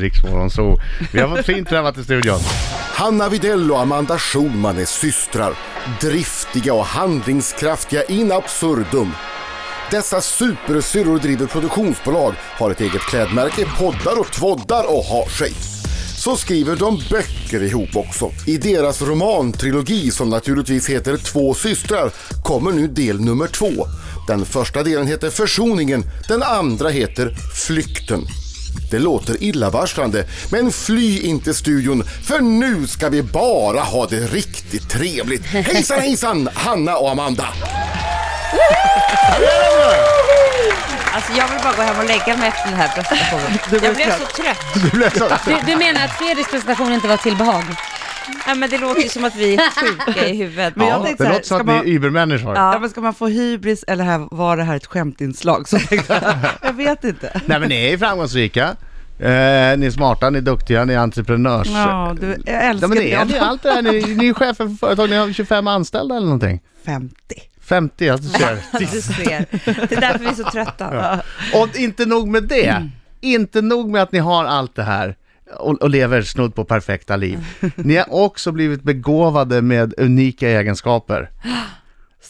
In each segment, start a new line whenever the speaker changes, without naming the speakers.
Riksmorgon så Vi har fått fint träffat i studion.
Hanna Videll och Amanda Schulman är systrar, driftiga och handlingskraftiga in absurdum. Dessa supersyrror driver produktionsbolag, har ett eget klädmärke, poddar och tvoddar och har sig. Så skriver de böcker ihop också. I deras romantrilogi, som naturligtvis heter Två systrar, kommer nu del nummer två. Den första delen heter Försoningen, den andra heter Flykten. Det låter illavarslande, men fly inte studion för nu ska vi bara ha det riktigt trevligt. Hejsan hejsan, Hanna och Amanda!
Alltså jag vill bara gå hem och lägga mig efter den här presentationen. Jag blev så trött.
Du blev så...
Du, du menar att Fredriks presentation inte var till behag?
Nej, men det låter ju som att vi är sjuka i huvudet.
Men jag
Ja,
tänkte
det
så här,
låter som
ska
att ni är
man-
übermänniskor.
Ja, men ska man få hybris eller här, var det här ett skämtinslag? Så tänkte jag, jag vet inte.
Nej men ni är framgångsrika. Eh, ni är smarta, ni är duktiga, ni är entreprenörs...
Ja, du, jag
Ja,
älskar
men det är ni,
det.
är allt det här. Ni, ni är chefer för företag, ni har 25 anställda eller någonting.
50.
50, alltså ser.
Du ser. Det är därför vi är så trötta.
Och inte nog med det. Inte nog med att ni har allt det här och, och lever snudd på perfekta liv. Ni har också blivit begåvade med unika egenskaper.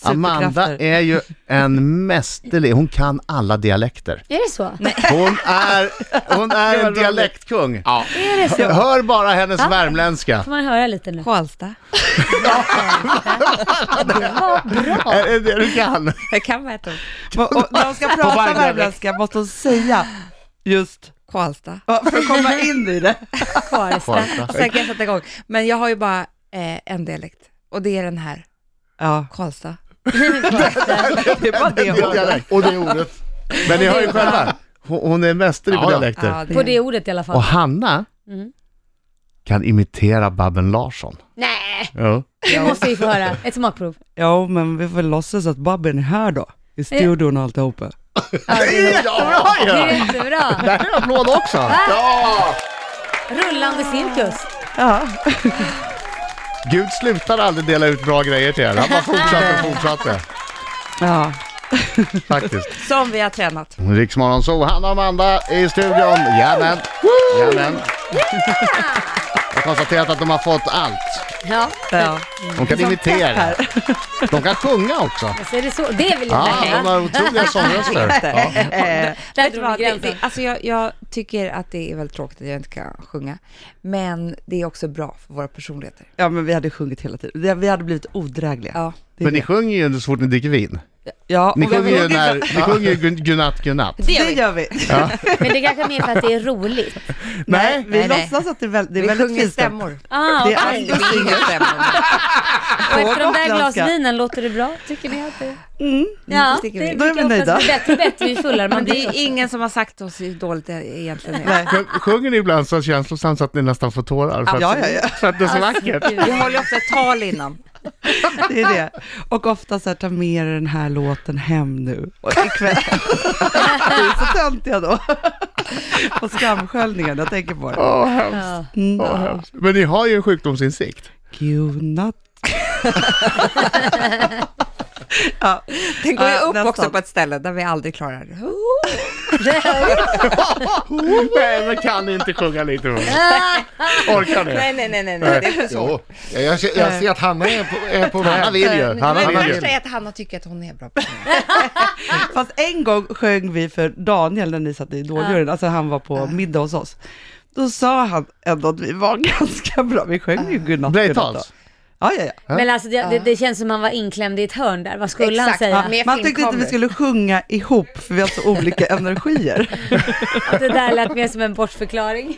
Amanda
Superkrafter.
är ju en mästerlig, hon kan alla dialekter.
Är det så?
Hon är, hon är en dialektkung.
Är det så?
Hör bara hennes värmländska.
Får man höra lite nu?
Karlstad.
Vad bra!
Är det det du kan?
Jag kan vad heter
Och, och när hon ska prata värmländska måste hon säga just
Karlstad.
ja, för att komma in i det.
Karlstad.
Sen kan jag sätta igång. Men jag har ju bara eh, en dialekt och det är den här.
Ja,
Karlstad.
det är bara det
Det är
ordet.
dialekt. Och det ordet. Men ni hör ju själva, hon hon är mästerlig på
Ja, ja.
dialekter.
På det ordet i alla fall.
Och Hanna
Mm.
kan imitera Babben Larsson.
Nej,
Ja.
det måste vi få höra. Ett smakprov.
Ja, men vi får låtsas att Babben är här då. I studion och alltihopa.
Det är jättebra
Det är
ju!
inte bra.
Där är applåd också! Ja!
Rullande cirkus.
Ja.
Gud slutade aldrig dela ut bra grejer till er. Han bara fortsatte och fortsatte.
ja.
Faktiskt.
Som vi har tränat.
Riksmorgon så Hanna och Amanda är i studion. Jajamän. Jajamän. Jag har konstaterat att de har fått allt.
Ja,
ja.
De kan imitera. De kan sjunga också.
så Alltså, är det så. Det vill jag
Ja,
Ah.
de
höra.
har otroliga sångröster. Ja.
Där
Eh, Vet du
drog vi
vad, det,
gränsen.
det, alltså jag, jag tycker att det är väldigt tråkigt att jag inte kan sjunga. Men det är också bra för våra personligheter.
ja, men vi hade sjungit hela tiden. Vi- Vi hade blivit odrägliga.
Ja.
Det är
Men ni
det.
sjunger ju så fort ni dricker vin.
ja,
Ni
och vi
sjunger ju,
sjunger-
när, ni sjunger ju gun- godnatt, godnatt.
Det gör
Det
vi.
gör vi.
Men det är kanske är mer för att det är roligt.
Nej.
Vi
Nej, nej.
låtsas att det är väldigt, det är
Vi
väldigt
sjunger
fint.
stämmor. Alltså,
Ah,
Det är
okej.
Vi sjunger stämmor.
Och efter de där
gotländska.
glasvinen, låter det bra? Tycker ni att det... Ja, det
tycker
det
vi.
Då är Mm. vi
kan jag
nöjda.
hoppas blir Bättre och bättre ju fullare man
Men det
blir.
är ingen som har sagt oss hur dåligt det egentligen är.
Men Sjunger ni ibland så känslosamt så att ni nästan får tårar? För att,
Ja, ja, ja.
För att det är så vackert.
Gud.
Vi håller ofta ett tal innan.
Det är det. Och ofta så här, ta med er den här låten hem nu och ikväll. Vi är så töntiga då. Och skamsköljningen, jag tänker på det.
Åh, hemskt.
Ja.
Åh, hemskt. Men ni har ju en sjukdomsinsikt.
Godnatt. ja.
Den går ju
Ja,
upp
nästan.
också på ett ställe där vi aldrig klarar det.
Nej, men kan ni inte sjunga lite? för mig? Orkar ni?
Nej, nej, nej, nej, nej. det är för svårt.
Jo, jag, jag, ser- jag ser att Hanna är på, är på
Hanna
väg.
vill ju. Hanna
Men det
vill
värsta
ju.
är att Hanna tycker att hon är bra på det.
Fast en gång sjöng vi för Daniel när ni satt i Idoljuryn, alltså han var på middag hos oss. Då sa han ändå att vi var ganska bra, vi sjöng ju godnatt.
Blade
godnatt då.
Tals.
Ja, ja, ja.
Men alltså det, det, det känns som man var inklämd i ett hörn där. Vad skulle han
Exakt.
säga?
Med
Man tyckte inte
filmkameror.
vi skulle sjunga ihop, för vi har så olika energier.
Att det där lät mer som en bortförklaring.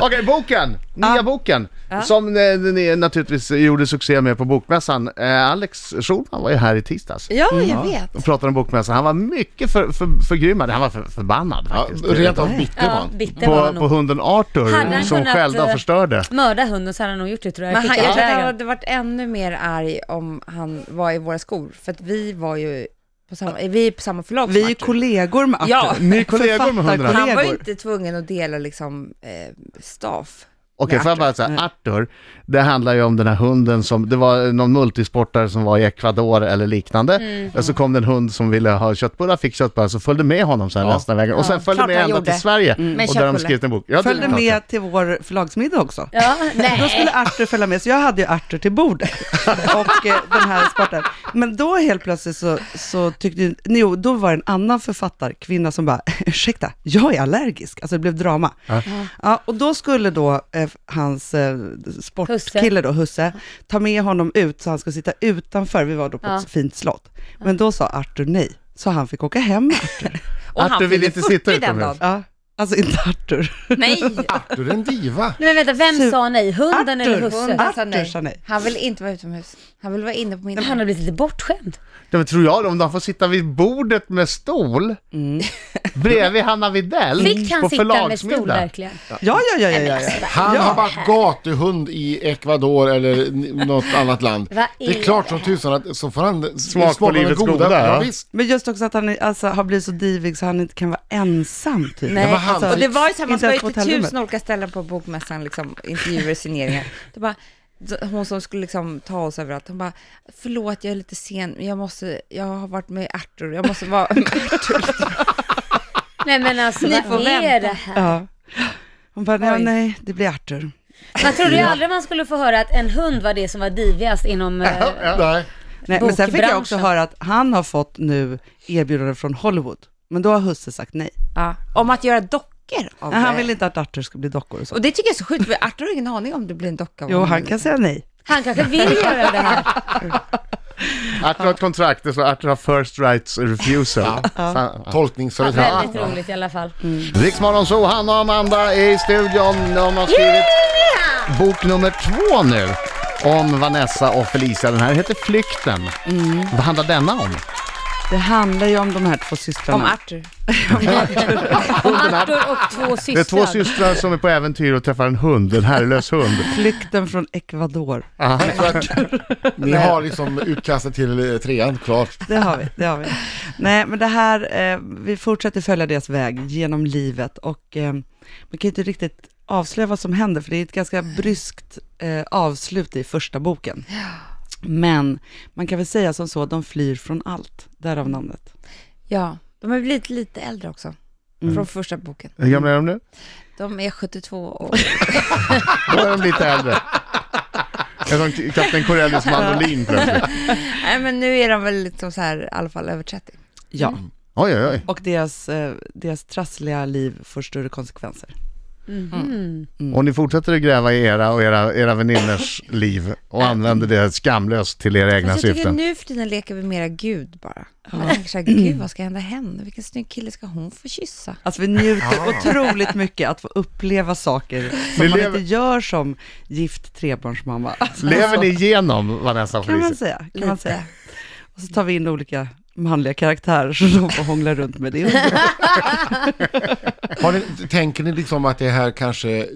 Okej, boken. Nya boken. Som eh, ni naturligtvis gjorde succé med på Bokmässan. Eh, Alex Schulman var ju här i tisdags.
Ja, jag vet.
och pratade om bokmässan. Han var mycket för, för, förgrymmad. Han var för, förbannad
Ja,
faktiskt.
rent av bitter var
Ja,
han.
bitter var han
på, på
nog.
hunden
Hade
Arthur
han
som
kunnat,
själva
eh,
förstörde.
Mörda hunden så hade han nog gjort det tror jag.
Men han,
Skickat
jag tror att
iväg
han
honom.
hade varit ännu mer arg om han var i våra skor. För att vi var ju på samma, vi är på samma förlag som
Vi är ju
Arthur.
kollegor med Arthur.
Ja.
Ni är kollegor med hundarna.
Författarkollegor.
Han var ju inte tvungen att dela liksom eh, staff.
Okej,
Med
får jag bara säga, Arthur, det handlar ju om den här hunden som, det var någon multisportare som var i Ecuador eller liknande, och så kom det en hund som ville ha köttbullar, fick köttbullar, så följde med honom sen resten av vägen, och sen följde
klart
med
han
ända
gjorde.
till Sverige,
Med
och där har de
köttbullar.
skrivit en bok. Ja, det är
Följde
klart.
med till vår förlagsmiddag också.
Ja,
Då
nej.
skulle Arthur följa med, så jag hade ju Arthur till bordet. Och eh, den här sporten. Men då helt plötsligt så, så tyckte ju- jo, då var det en annan författarkvinna som bara, ursäkta, jag är allergisk. Alltså det blev drama. Ja. och då skulle då eh, hans eh, sportkille då, husse, ta med honom ut, så han skulle sitta utanför, vi var då på ett
Ja.
fint slott. Men då sa Arthur nej, så han fick åka hem med Arthur.
Och
Att du
han
vill
fyllde
inte sitta
40 den
utomhus.
dagen.
Ja. Alltså inte Arthur.
Nej,
Ah, Du är en diva.
Nej men vänta, vem
Su-
sa nej? Hunden eller
Arthur.
husse?
hunden sa
Arthur
nej.
sa nej.
Han vill inte vara utomhus. Han vill vara inne på min
Han har blivit lite bortskämd.
Ja, men tror jag, om de får sitta vid bordet med stol, bredvid Hanna Widell
Fick han
Mm, på
sitta med stol
förlagsmiddag.
verkligen?
Ja, ja, ja, ja, ja. ja.
Han har varit gatuhund i Ecuador eller n- något annat land.
Vad är
Det är klart som tusan att så får han
Smak på livets goda,
Ja,
ja.
visst.
Men just också att han är, alltså, har blivit så divig så han inte kan vara ensam typ.
Nej, alltså,
men han-
och det var ju så här, man
Inte
var ju
ens på
till
hotellrummet.
tusen olika ställen på bokmässan, liksom, intervjuer och signeringar. Det bara, hon som skulle liksom ta oss överallt, hon bara, förlåt jag är lite sen, jag måste, jag har varit med Arthur, jag måste vara med Arthur.
Nej men alltså
Ni får
vad är
vänta.
det här?
Ja. Hon bara, nej,
Oj.
nej, det blir Arthur.
Man trodde ju aldrig man skulle få höra att en hund var det som var divigast inom... eh,
Nej.
Nej, men sen fick jag också
Bokbranschen.
höra att han har fått nu erbjudande från Hollywood. Men då har husse sagt nej.
Ja, om att göra dockor av
Nej, Han
det.
vill inte att Arthur ska bli dockor och så.
Och det tycker jag är så sjukt, för Arthur har ingen aning om det blir en docka av
Jo,
honom.
han kan säga nej.
Han kanske vill göra det här.
Arthur har ett kontrakt, det står Arthur har first rights refusal. Ja.
Tolkningsföreträde.
Väldigt roligt i alla fall.
Riksmorgon så Hanna och Amanda är i studion. De har skrivit bok nummer två nu om Vanessa och Felicia. Den här heter Flykten.
Mm.
Vad handlar denna om?
Det handlar ju om de här två
Om
systrarna.
Arthur.
Arthur och två systrar.
Det är två systrar som är på äventyr och träffar en hund, en herrelös hund.
Flykten från Ecuador.
Aha.
Ni har liksom utkastet till eh, trean, klart.
Det har vi, det har vi. Nej, men det här, eh, vi fortsätter följa deras väg genom livet och eh, man kan ju inte riktigt avslöja vad som händer, för det är ett ganska bryskt eh, avslut i första boken. Men man kan väl säga som så, de flyr från allt, därav namnet.
Ja, de har blivit lite äldre också.
Mm.
Från första boken.
Hur gamla är de nu?
De är 72 och...
Då är de lite äldre. Är de Kapten Corellius mandolin plötsligt?
Nej, men nu är de väl liksom så här, i alla fall över 30.
Ja,
Mm. Oj, oj, oj.
och deras, eh, deras trassliga liv får större konsekvenser.
Och ni fortsätter att gräva i era och era, era väninners liv och använder det skamlöst till era egna
Fast Alltså, jag tycker
syften.
nu för tiden leker vi mera Gud bara. Man tänker så här,
Mm.
Gud vad ska hända henne? Vilken snygg kille ska hon få kyssa?
Alltså vi njuter otroligt mycket att få uppleva saker som
Ni
man
lever-
inte gör som gift trebarnsmamma. Alltså,
Lever ni igenom Vanessa och
kan
Felicia?
man säga. Kan man säga. Och så tar vi in olika manliga karaktärer som de får hångla runt med. Det är underbart.
Har ni, tänker ni liksom att det här kanske,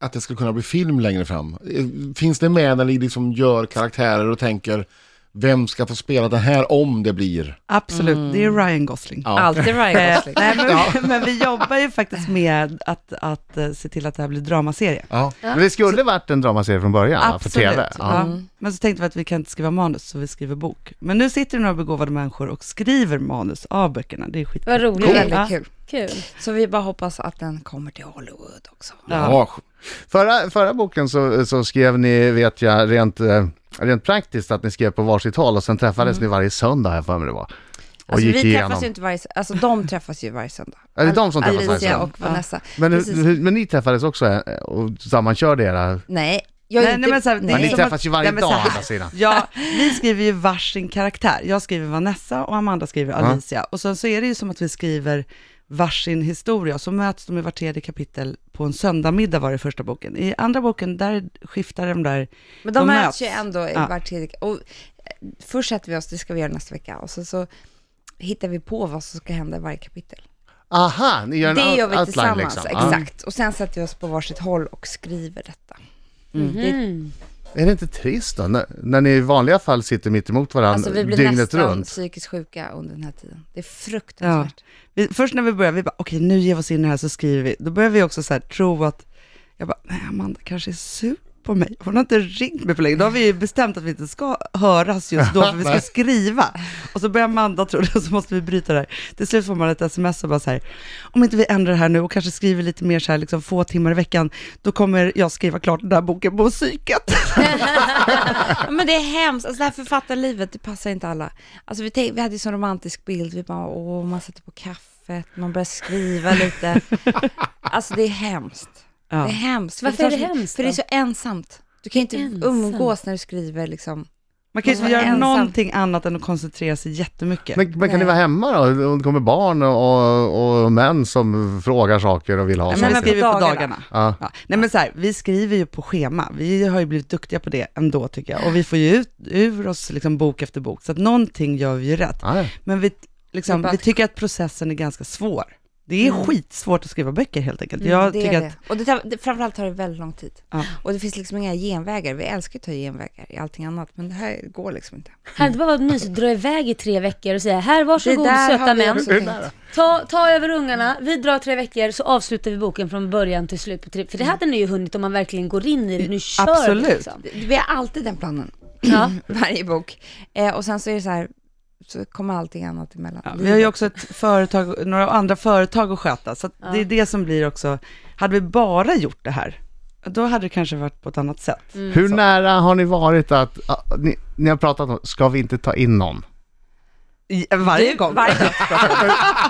att det skulle kunna bli film längre fram? Eh, Finns det med när ni liksom gör karaktärer och tänker, vem ska få spela den här om det blir?
Absolut, det är Ryan Gosling.
Ja.
Alltid Ryan
Eh,
Gosling.
nej, men, men vi jobbar ju faktiskt med att, att eh, se till att det här blir dramaserie.
Ja.
Men det skulle varit en dramaserie från början, va? för
Absolut.
tv.
Ja.
Ja.
Mm.
Men så tänkte vi att vi kan inte skriva manus, så vi skriver bok. Men nu sitter det några begåvade människor och skriver manus av böckerna. Det är skitkul.
Vad roligt.
Väldigt kul.
Kul.
Så vi bara hoppas att den kommer till Hollywood också.
Ja.
Ja.
Förra, förra boken så, så skrev ni, vet jag, rent, eh, rent praktiskt att ni skrev på varsitt håll och sen träffades ni varje söndag, har jag för mig det var. Och
Mm. Alltså,
gick
vi
igenom.
träffas ju inte varje, alltså de träffas ju varje söndag.
Är det de som träffas varje
Alicia
söndag?
och Vanessa.
men, hur-
Precis.
hur- men ni träffades också eh, och sammankörde era...
Nej, jag är
Nej,
inte...
nej, men så här, det
Ja,
är
ni
som
träffas
att-
ju varje
nej, men så
dag,
här-
å andra sidan.
Ja, vi skriver ju varsin karaktär. Jag skriver Vanessa och Amanda skriver Alicia. Och sen så är det ju som att vi skriver varsin historia. Så möts de i vart tredje kapitel på en söndagmiddag var det i första boken. I andra boken, där skiftar de där.
Men de
möts.
möts ju ändå i
Ja.
var tredje... Och eh, först sätter vi oss, det ska vi göra nästa vecka, och så, så hittar vi på vad som ska hända i varje kapitel.
Aha, ni gör en
Det
out-
gör vi
outline
tillsammans,
liksom. Ja.
exakt. Och sen sätter vi oss på varsitt håll och skriver detta. Det är
Ah. Är det inte trist då, när, när ni i vanliga fall sitter mitt emot varandra
Alltså vi blir
dygnet
nästan
runt?
psykiskt sjuka under den här tiden. Det är
Ja.
fruktansvärt.
Vi, först när vi börjar, vi bara, okej nu ger vi oss in i det här så skriver vi. Då börjar vi också så här, tro att Jag bara, nej Amanda kanske är sur på mig. Hon har inte ringt mig på länge. Då har vi ju bestämt att vi inte ska höras just då, för vi ska skriva. Och så börjar Amanda tro det, och så måste vi bryta det här. Till slut får man ett sms och bara så här, om inte vi ändrar det här nu och kanske skriver lite mer så här, liksom få timmar i veckan, då kommer jag skriva klart den här boken på psyket.
Ja, men det är hemskt. Alltså det här författarlivet, det passar inte alla. Alltså vi, tänk, vi hade ju sån romantisk bild, vi bara, åh, man sätter på kaffet, man börjar skriva lite. Alltså det är hemskt.
Ja.
Det är hemskt.
Varför
tar
är det
så-
hemskt
För det är
då?
så ensamt. Du kan ju inte
Ensam.
umgås när du skriver liksom.
Man kan ju
Man
inte
var
göra
ensam.
någonting annat än att koncentrera sig jättemycket.
Men, men kan ni
Nej.
vara hemma då? Om det kommer barn och, och män som frågar saker och vill ha
Ja,
Nej,
men vi
saker.
men
skriver på
dagarna.
dagarna.
Ja.
Ja. Nej men så här, vi skriver ju på schema. Vi har ju blivit duktiga på det ändå tycker jag. Och vi får ju ut ur oss liksom bok efter bok. Så att någonting gör vi ju rätt.
Ja, ja.
Men vi,
Det är
liksom,
bara
vi
att-
tycker att processen är ganska svår. Det är skitsvårt att skriva böcker helt enkelt. Jag
Mm, det är
tycker
det.
att,
Och det tar, det, framförallt tar det väldigt lång tid.
Ja.
Och det finns liksom inga genvägar. Vi älskar ju att ta genvägar i allting annat, men det här går liksom inte.
Hade det bara varit mysigt att dra iväg i tre veckor och säga här varsågod söta
vi
män.
också tänkt.
Ta, ta över ungarna, vi drar tre veckor så avslutar vi boken från början till slut på tre. För det hade ni ju hunnit om man verkligen går in i det. Nu kör
Absolut.
vi liksom.
Vi har alltid den planen.
Ja.
varje bok. Eh, och sen så är det så här, så kommer allting annat emellan.
ja, vi har ju också ett företag, några andra företag att sköta. Så att det är det som blir också, hade vi bara gjort det här, då hade det kanske varit på ett annat sätt.
Mm.
Hur nära har ni varit att, ah, ni, ni har pratat om, ska vi inte ta in någon?
I- Varje gång.
Varje dag.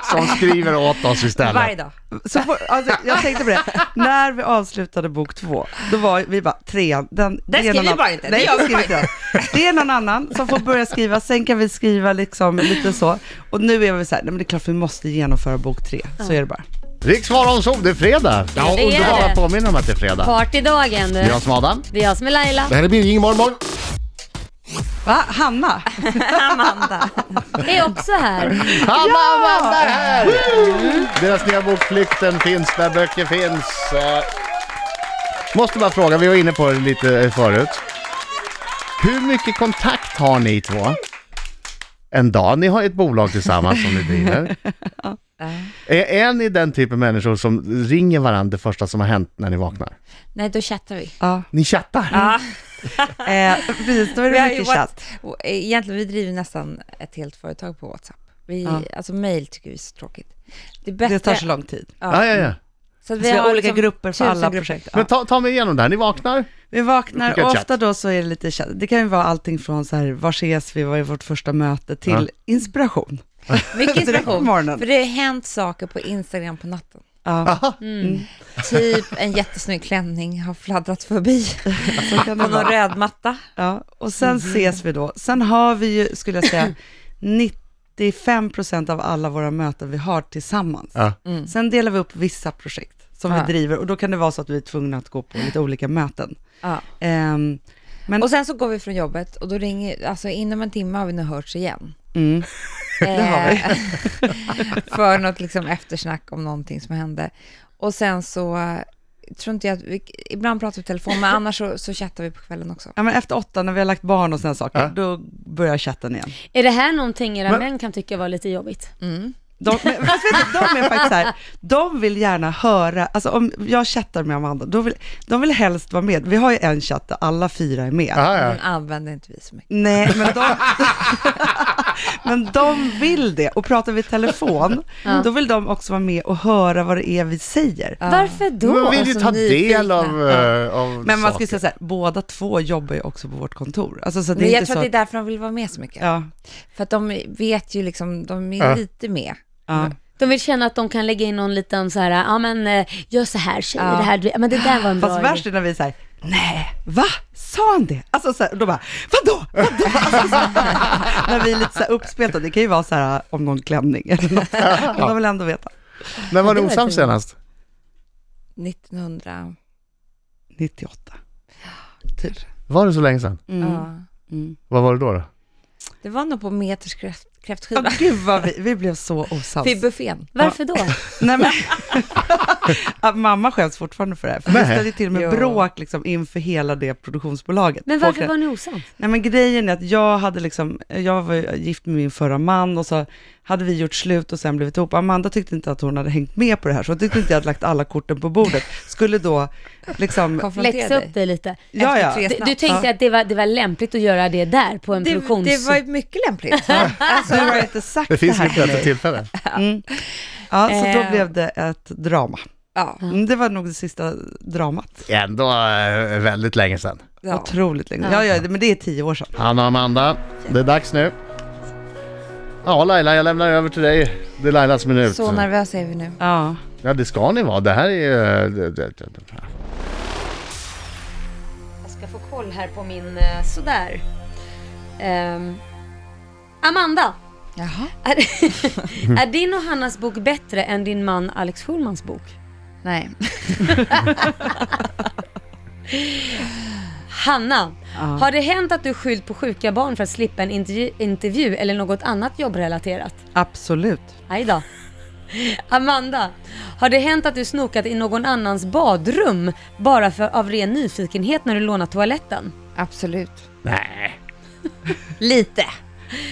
Som skriver åt oss istället.
Varje dag.
Så får, alltså, jag tänkte på det, när vi avslutade bok två, då var vi bara trean, den, det är
skriver
någon
vi
annan-
bara inte, det
Nej,
gör vi
skriver inte. Det är någon annan som får börja skriva, sen kan vi skriva liksom lite så. Och nu är vi så här, nej men det är klart vi måste genomföra bok tre, så är det bara.
Riksmorgonzoo, det är fredag! Ja,
det är
underbart
det.
att påminna om att det är fredag.
Partydagen du.
Det är jag som är Adam.
Det är jag som är Laila.
Det här är Birging imorgon morgon.
Va, Hanna?
Amanda.
Det är också här.
Hanna ja! Amanda är här! Deras nya bok Flykten finns där böcker finns. Eh, Måste bara fråga, vi var inne på det lite eh, förut. Hur mycket kontakt har ni två? En dag? Ni har ett bolag tillsammans som ni driver. Är, är ni den typen människor som ringer varandra det första som har hänt när ni vaknar?
Nej, då chattar vi.
Ja.
Ni chattar?
Eh, precis, då
Vi
är det
har ju
mycket
What-
chatt.
och, eh, Egentligen, vi driver nästan ett helt företag på WhatsApp. Vi,
Ja.
Alltså mail tycker vi är så tråkigt. Det är
Det
bättre.
tar så lång tid.
Ja, ja, ja.
Så att
Vi har olika
liksom
grupper för
tusen
alla
grupper.
projekt. Ja.
Men ta, ta mig igenom det här, ni vaknar?
Vi vaknar
Vilken
och
chatt.
ofta då så är det lite chatt. Det kan ju vara allting från så här, var ses vi, vad är vårt första möte, till
Ja.
inspiration.
Mycket
Direkt på
inspiration.
morgonen.
För det har hänt saker på Instagram på natten.
Ja.
Typ en jättesnygg klänning har fladdrat förbi
Så kan
på
det
någon
vara.
röd matta.
Ja, och sen ses vi då. Sen har vi ju, skulle jag säga, 95% av alla våra möten vi har tillsammans.
Ja.
Sen delar vi upp vissa projekt som
Ja.
vi driver och då kan det vara så att vi är tvungna att gå på lite olika möten.
Ja.
Ehm, men
Och sen så går vi från jobbet och då ringer, alltså inom en timme har vi nog hörts igen.
mm,
Det
har vi.
för något liksom eftersnack om någonting som hände. Och sen så eh, tror inte jag att, vi, ibland pratar vi i telefon, men annars så, så chattar vi på kvällen också.
ja, men efter åtta när vi har lagt barn och sådana saker,
Ja.
då börjar chatten igen.
Är det här någonting era
Men-
män kan tycka var lite jobbigt?
De, men, fast vet du, de är faktiskt så här, de vill gärna höra, alltså om jag chattar med Amanda, då vill, de vill helst vara med. Vi har ju en chatt där alla fyra är med.
Ja, ja.
Den använder inte vi så mycket.
Nej, men de, men de vill det. Och pratar vi i telefon, då vill de också vara med och höra vad det är vi säger.
Varför då?
Man vill ju
alltså
ta
nyfikna.
del av, eh, av
Men man
saker.
ska säga så här, båda två jobbar ju också på vårt kontor. Alltså, så det
Men
är
jag
inte
tror
så
att det
att,
är därför de vill vara med så mycket.
ja,
För att de vet ju liksom, de är lite med.
ja.
De vill känna att de kan lägga in någon liten så här, ja men eh, gör så här tjejer,
Ja.
det här, ja, men det där var en bra
Fast
idé."
värst är när vi säger nej, va? Sa han det? Alltså så här, och då bara, vadå? Vadå? Alltså, så här, när vi är lite så här uppspelta, det kan ju vara så här om någon klänning eller något. Men de vill ändå veta.
När var
Ja,
ni
det vet
osams
jag.
senast?
1900,
98. Typ.
Var det så länge sedan?
Mm.
ja.
Mm.
Vad var det då? då?
Det var nog på Meterskräft kräftskiva.
Åh, gud vad vi, vi blev så osams.
Vid buffén.
Varför då?
Nej, men, Ja, mamma skäms fortfarande för det här. För vi
Nej.
ställde till med
Ja.
bråk liksom, inför hela det produktionsbolaget.
Men
Folk-
varför var ni osams?
Nej men grejen är att jag hade liksom, jag var ju gift med min förra man och så hade vi gjort slut och sen blivit ihop. Amanda tyckte inte att hon hade hängt med på det här så hon tyckte inte jag hade lagt alla korten på bordet. Skulle då liksom,
Konfrontera
Läxa
dig.
upp dig lite.
ja ja.
tre
Du, du
snabbt.
tänkte att det var, det var lämpligt att göra det där på en
Det,
produktions...
det var ju mycket lämpligt.
Alltså, du har inte sagt
Det
det,
finns
här
mycket
till
bättre
mig.
tillfällen.
Mm. Ja, så då
Eh.
blev det ett drama.
Ja,
Mm, det var nog det sista dramat.
Ändå eh, väldigt länge sedan.
ja.
Otroligt länge. Ja, ja, det- men det är tio år sedan.
Hanna och Amanda, det är dags nu. Ja Laila, jag lämnar över till dig. Det är Lailas minut.
Så nervösa är vi nu.
Ja.
Ja det ska ni vara. Det här är ju... det- det- det- det-
Jag ska få koll här på min... eh, Sådär. Ehm, Amanda,
Jaha.
är, är din och Hannas bok bättre än din man Alex Schulmans bok?
Nej.
Hanna,
Ja.
har det hänt att du skyllt på sjuka barn för att slippa en intervju, intervju eller något annat jobbrelaterat?
Absolut.
Aj då. Amanda, har det hänt att du snokat i någon annans badrum bara för, av ren nyfikenhet när du lånat toaletten?
Absolut.
Nej.
Lite.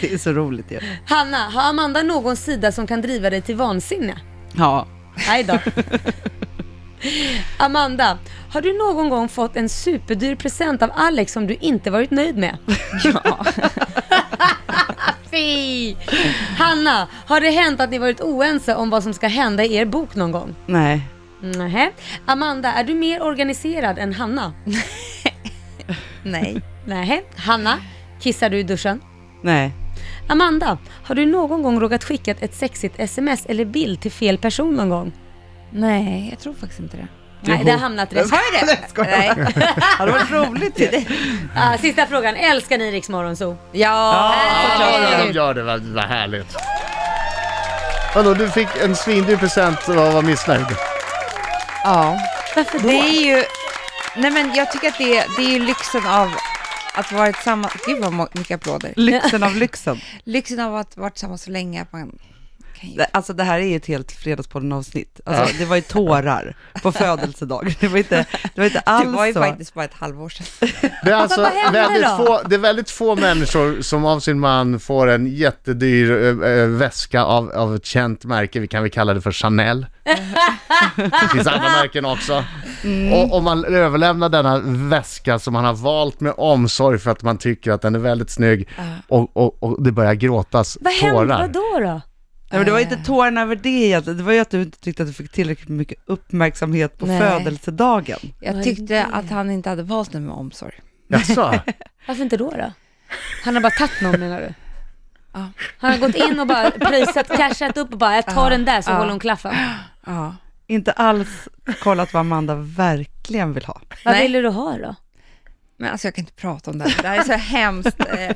Det är så roligt ju.
Hanna, har Amanda någon sida som kan driva dig till vansinne?
Ja.
Aj då. Amanda, har du någon gång fått en superdyr present av Alex som du inte varit nöjd med? Ja. Fy! Hanna, har det hänt att ni varit oense om vad som ska hända i er bok någon gång?
Nej.
Nähä. Amanda, är du mer organiserad än Hanna?
Nej.
Nähä. Hanna, kissar du i duschen?
Nej.
Amanda, har du någon gång råkat skicka ett sexigt sms eller bild till fel person någon gång?
Nej, jag tror faktiskt inte det.
Nej, det har hamnat rätt.
Nej.
Ja, Det var roligt ju.
Ah, sista frågan, älskar ni Rix Morgonzoo?
Ja,
Ja,
Herregud.
de gör det. Vad, vad härligt. Vadå, du fick en svindyr present och var missnöjd?
ja.
Varför då?
Det är ju... Nej men jag tycker att det är, det är ju lyxen av att vara tillsammans... Gud vad må- mycket applåder.
Lyxen av lyxen.
Lyxen av att vara tillsammans så länge att man kan ju...
Det- Alltså det här är ju ett helt Fredagspodden-avsnitt. Alltså, det var ju tårar på födelsedag. Det var inte, det var inte alls
Det var ju
så.
faktiskt bara ett halvår sedan.
Det är, alltså
vad hände
väldigt
då?
få, det är väldigt få människor som av sin man får en jättedyr eh, eh, väska av, av ett känt märke, vi kan väl kalla det för Chanel. Det finns andra märken också. Och om man överlämnar denna väska som man har valt med omsorg för att man tycker att den är väldigt snygg och, och, och det börjar gråtas
Vad hände?
tårar.
Vad då? då?
Nej, men det var inte tårarna över det egentligen. Det var ju att du inte tyckte att du fick tillräckligt mycket uppmärksamhet på
Nej.
födelsedagen.
Jag tyckte att han inte hade valt den med omsorg.
Jaså?
Varför inte då? då? Han har bara tagit någon menar du?
Ja.
Han har gått in och bara pröjsat, cashat upp och bara jag tar den där så
Ja.
håller hon klaffen.
Ja.
Inte alls kollat vad Amanda verkligen vill ha.
Vad
Nej.
ville du ha då?
Men alltså jag kan inte prata om det här, det här är så hemskt. Eh, Men,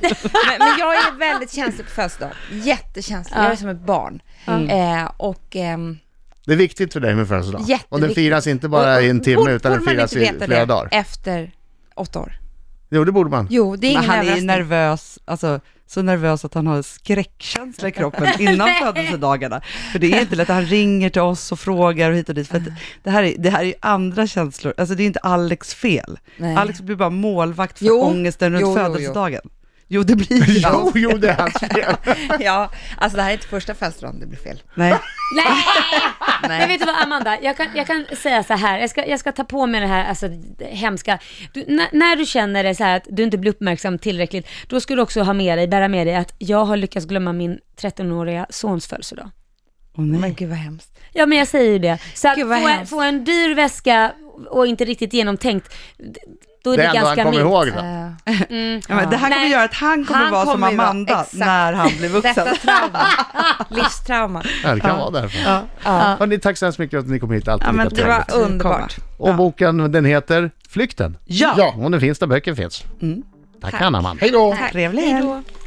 men jag är väldigt känslig på födelsedag, jättekänslig. Jag är som ett barn.
Mm.
Eh, och, ehm,
Det är viktigt för dig med födelsedag. Och den
Jätteviktigt.
firas inte
och-
bara
och
i en timme
borde-
utan den
borde man
firas
inte
i
veta
flera
det
dagar.
Efter åtta år.
Jo, det borde man.
Jo, det är
Men
ingen
han är ju
överraskning.
nervös, alltså så nervös att han har skräckkänsla i kroppen innan födelsedagarna. För det är inte lätt, han ringer till oss och frågar och hit och dit. För att det, här är, det här är ju andra känslor, alltså det är inte Alex fel.
Nej.
Alex blir bara målvakt för
Jo.
ångesten runt
Jo, jo, jo.
födelsedagen. Jo, det blir ju
Jo,
han.
jo, det är hans fel.
Ja, alltså det här är inte första födelsedagen det blir fel.
Nej,
Nej!
Nej.
Men vet du vad Amanda, jag kan, jag kan säga så här, jag ska, jag ska ta på mig det här alltså, det hemska. Du, när, när du känner dig så här att du inte blir uppmärksam tillräckligt, då ska du också ha med dig, bära med dig att jag har lyckats glömma min 13-åriga sons födelsedag.
Åh, nej.
Men gud vad hemskt.
Ja men jag säger ju det. Så att
Gud, vad
få, en,
hemskt.
få en dyr väska och inte riktigt genomtänkt, d- då är
Det
det,
är ändå han
ganska
kommer
milt.
ihåg det.
Eh,
Ja, men det här kommer
Nej.
göra att han kommer
Han
vara som
kommer ju vara-
Amanda
exakt.
när han blir vuxen.
detta trauma, livstrauma.
Ja, det kan vara därför.
Ja.
Hörrni, tack så hemskt mycket för att ni kom hit. Alltid
Ja, men
lika
Det
det
trevligt.
var
Trevligt.
underbart.
Och boken, den heter Flykten.
Ja.
Och den finns där böcker finns. Tack, Hanna, man.
Hej då!
Trevlig helg.
Hejdå.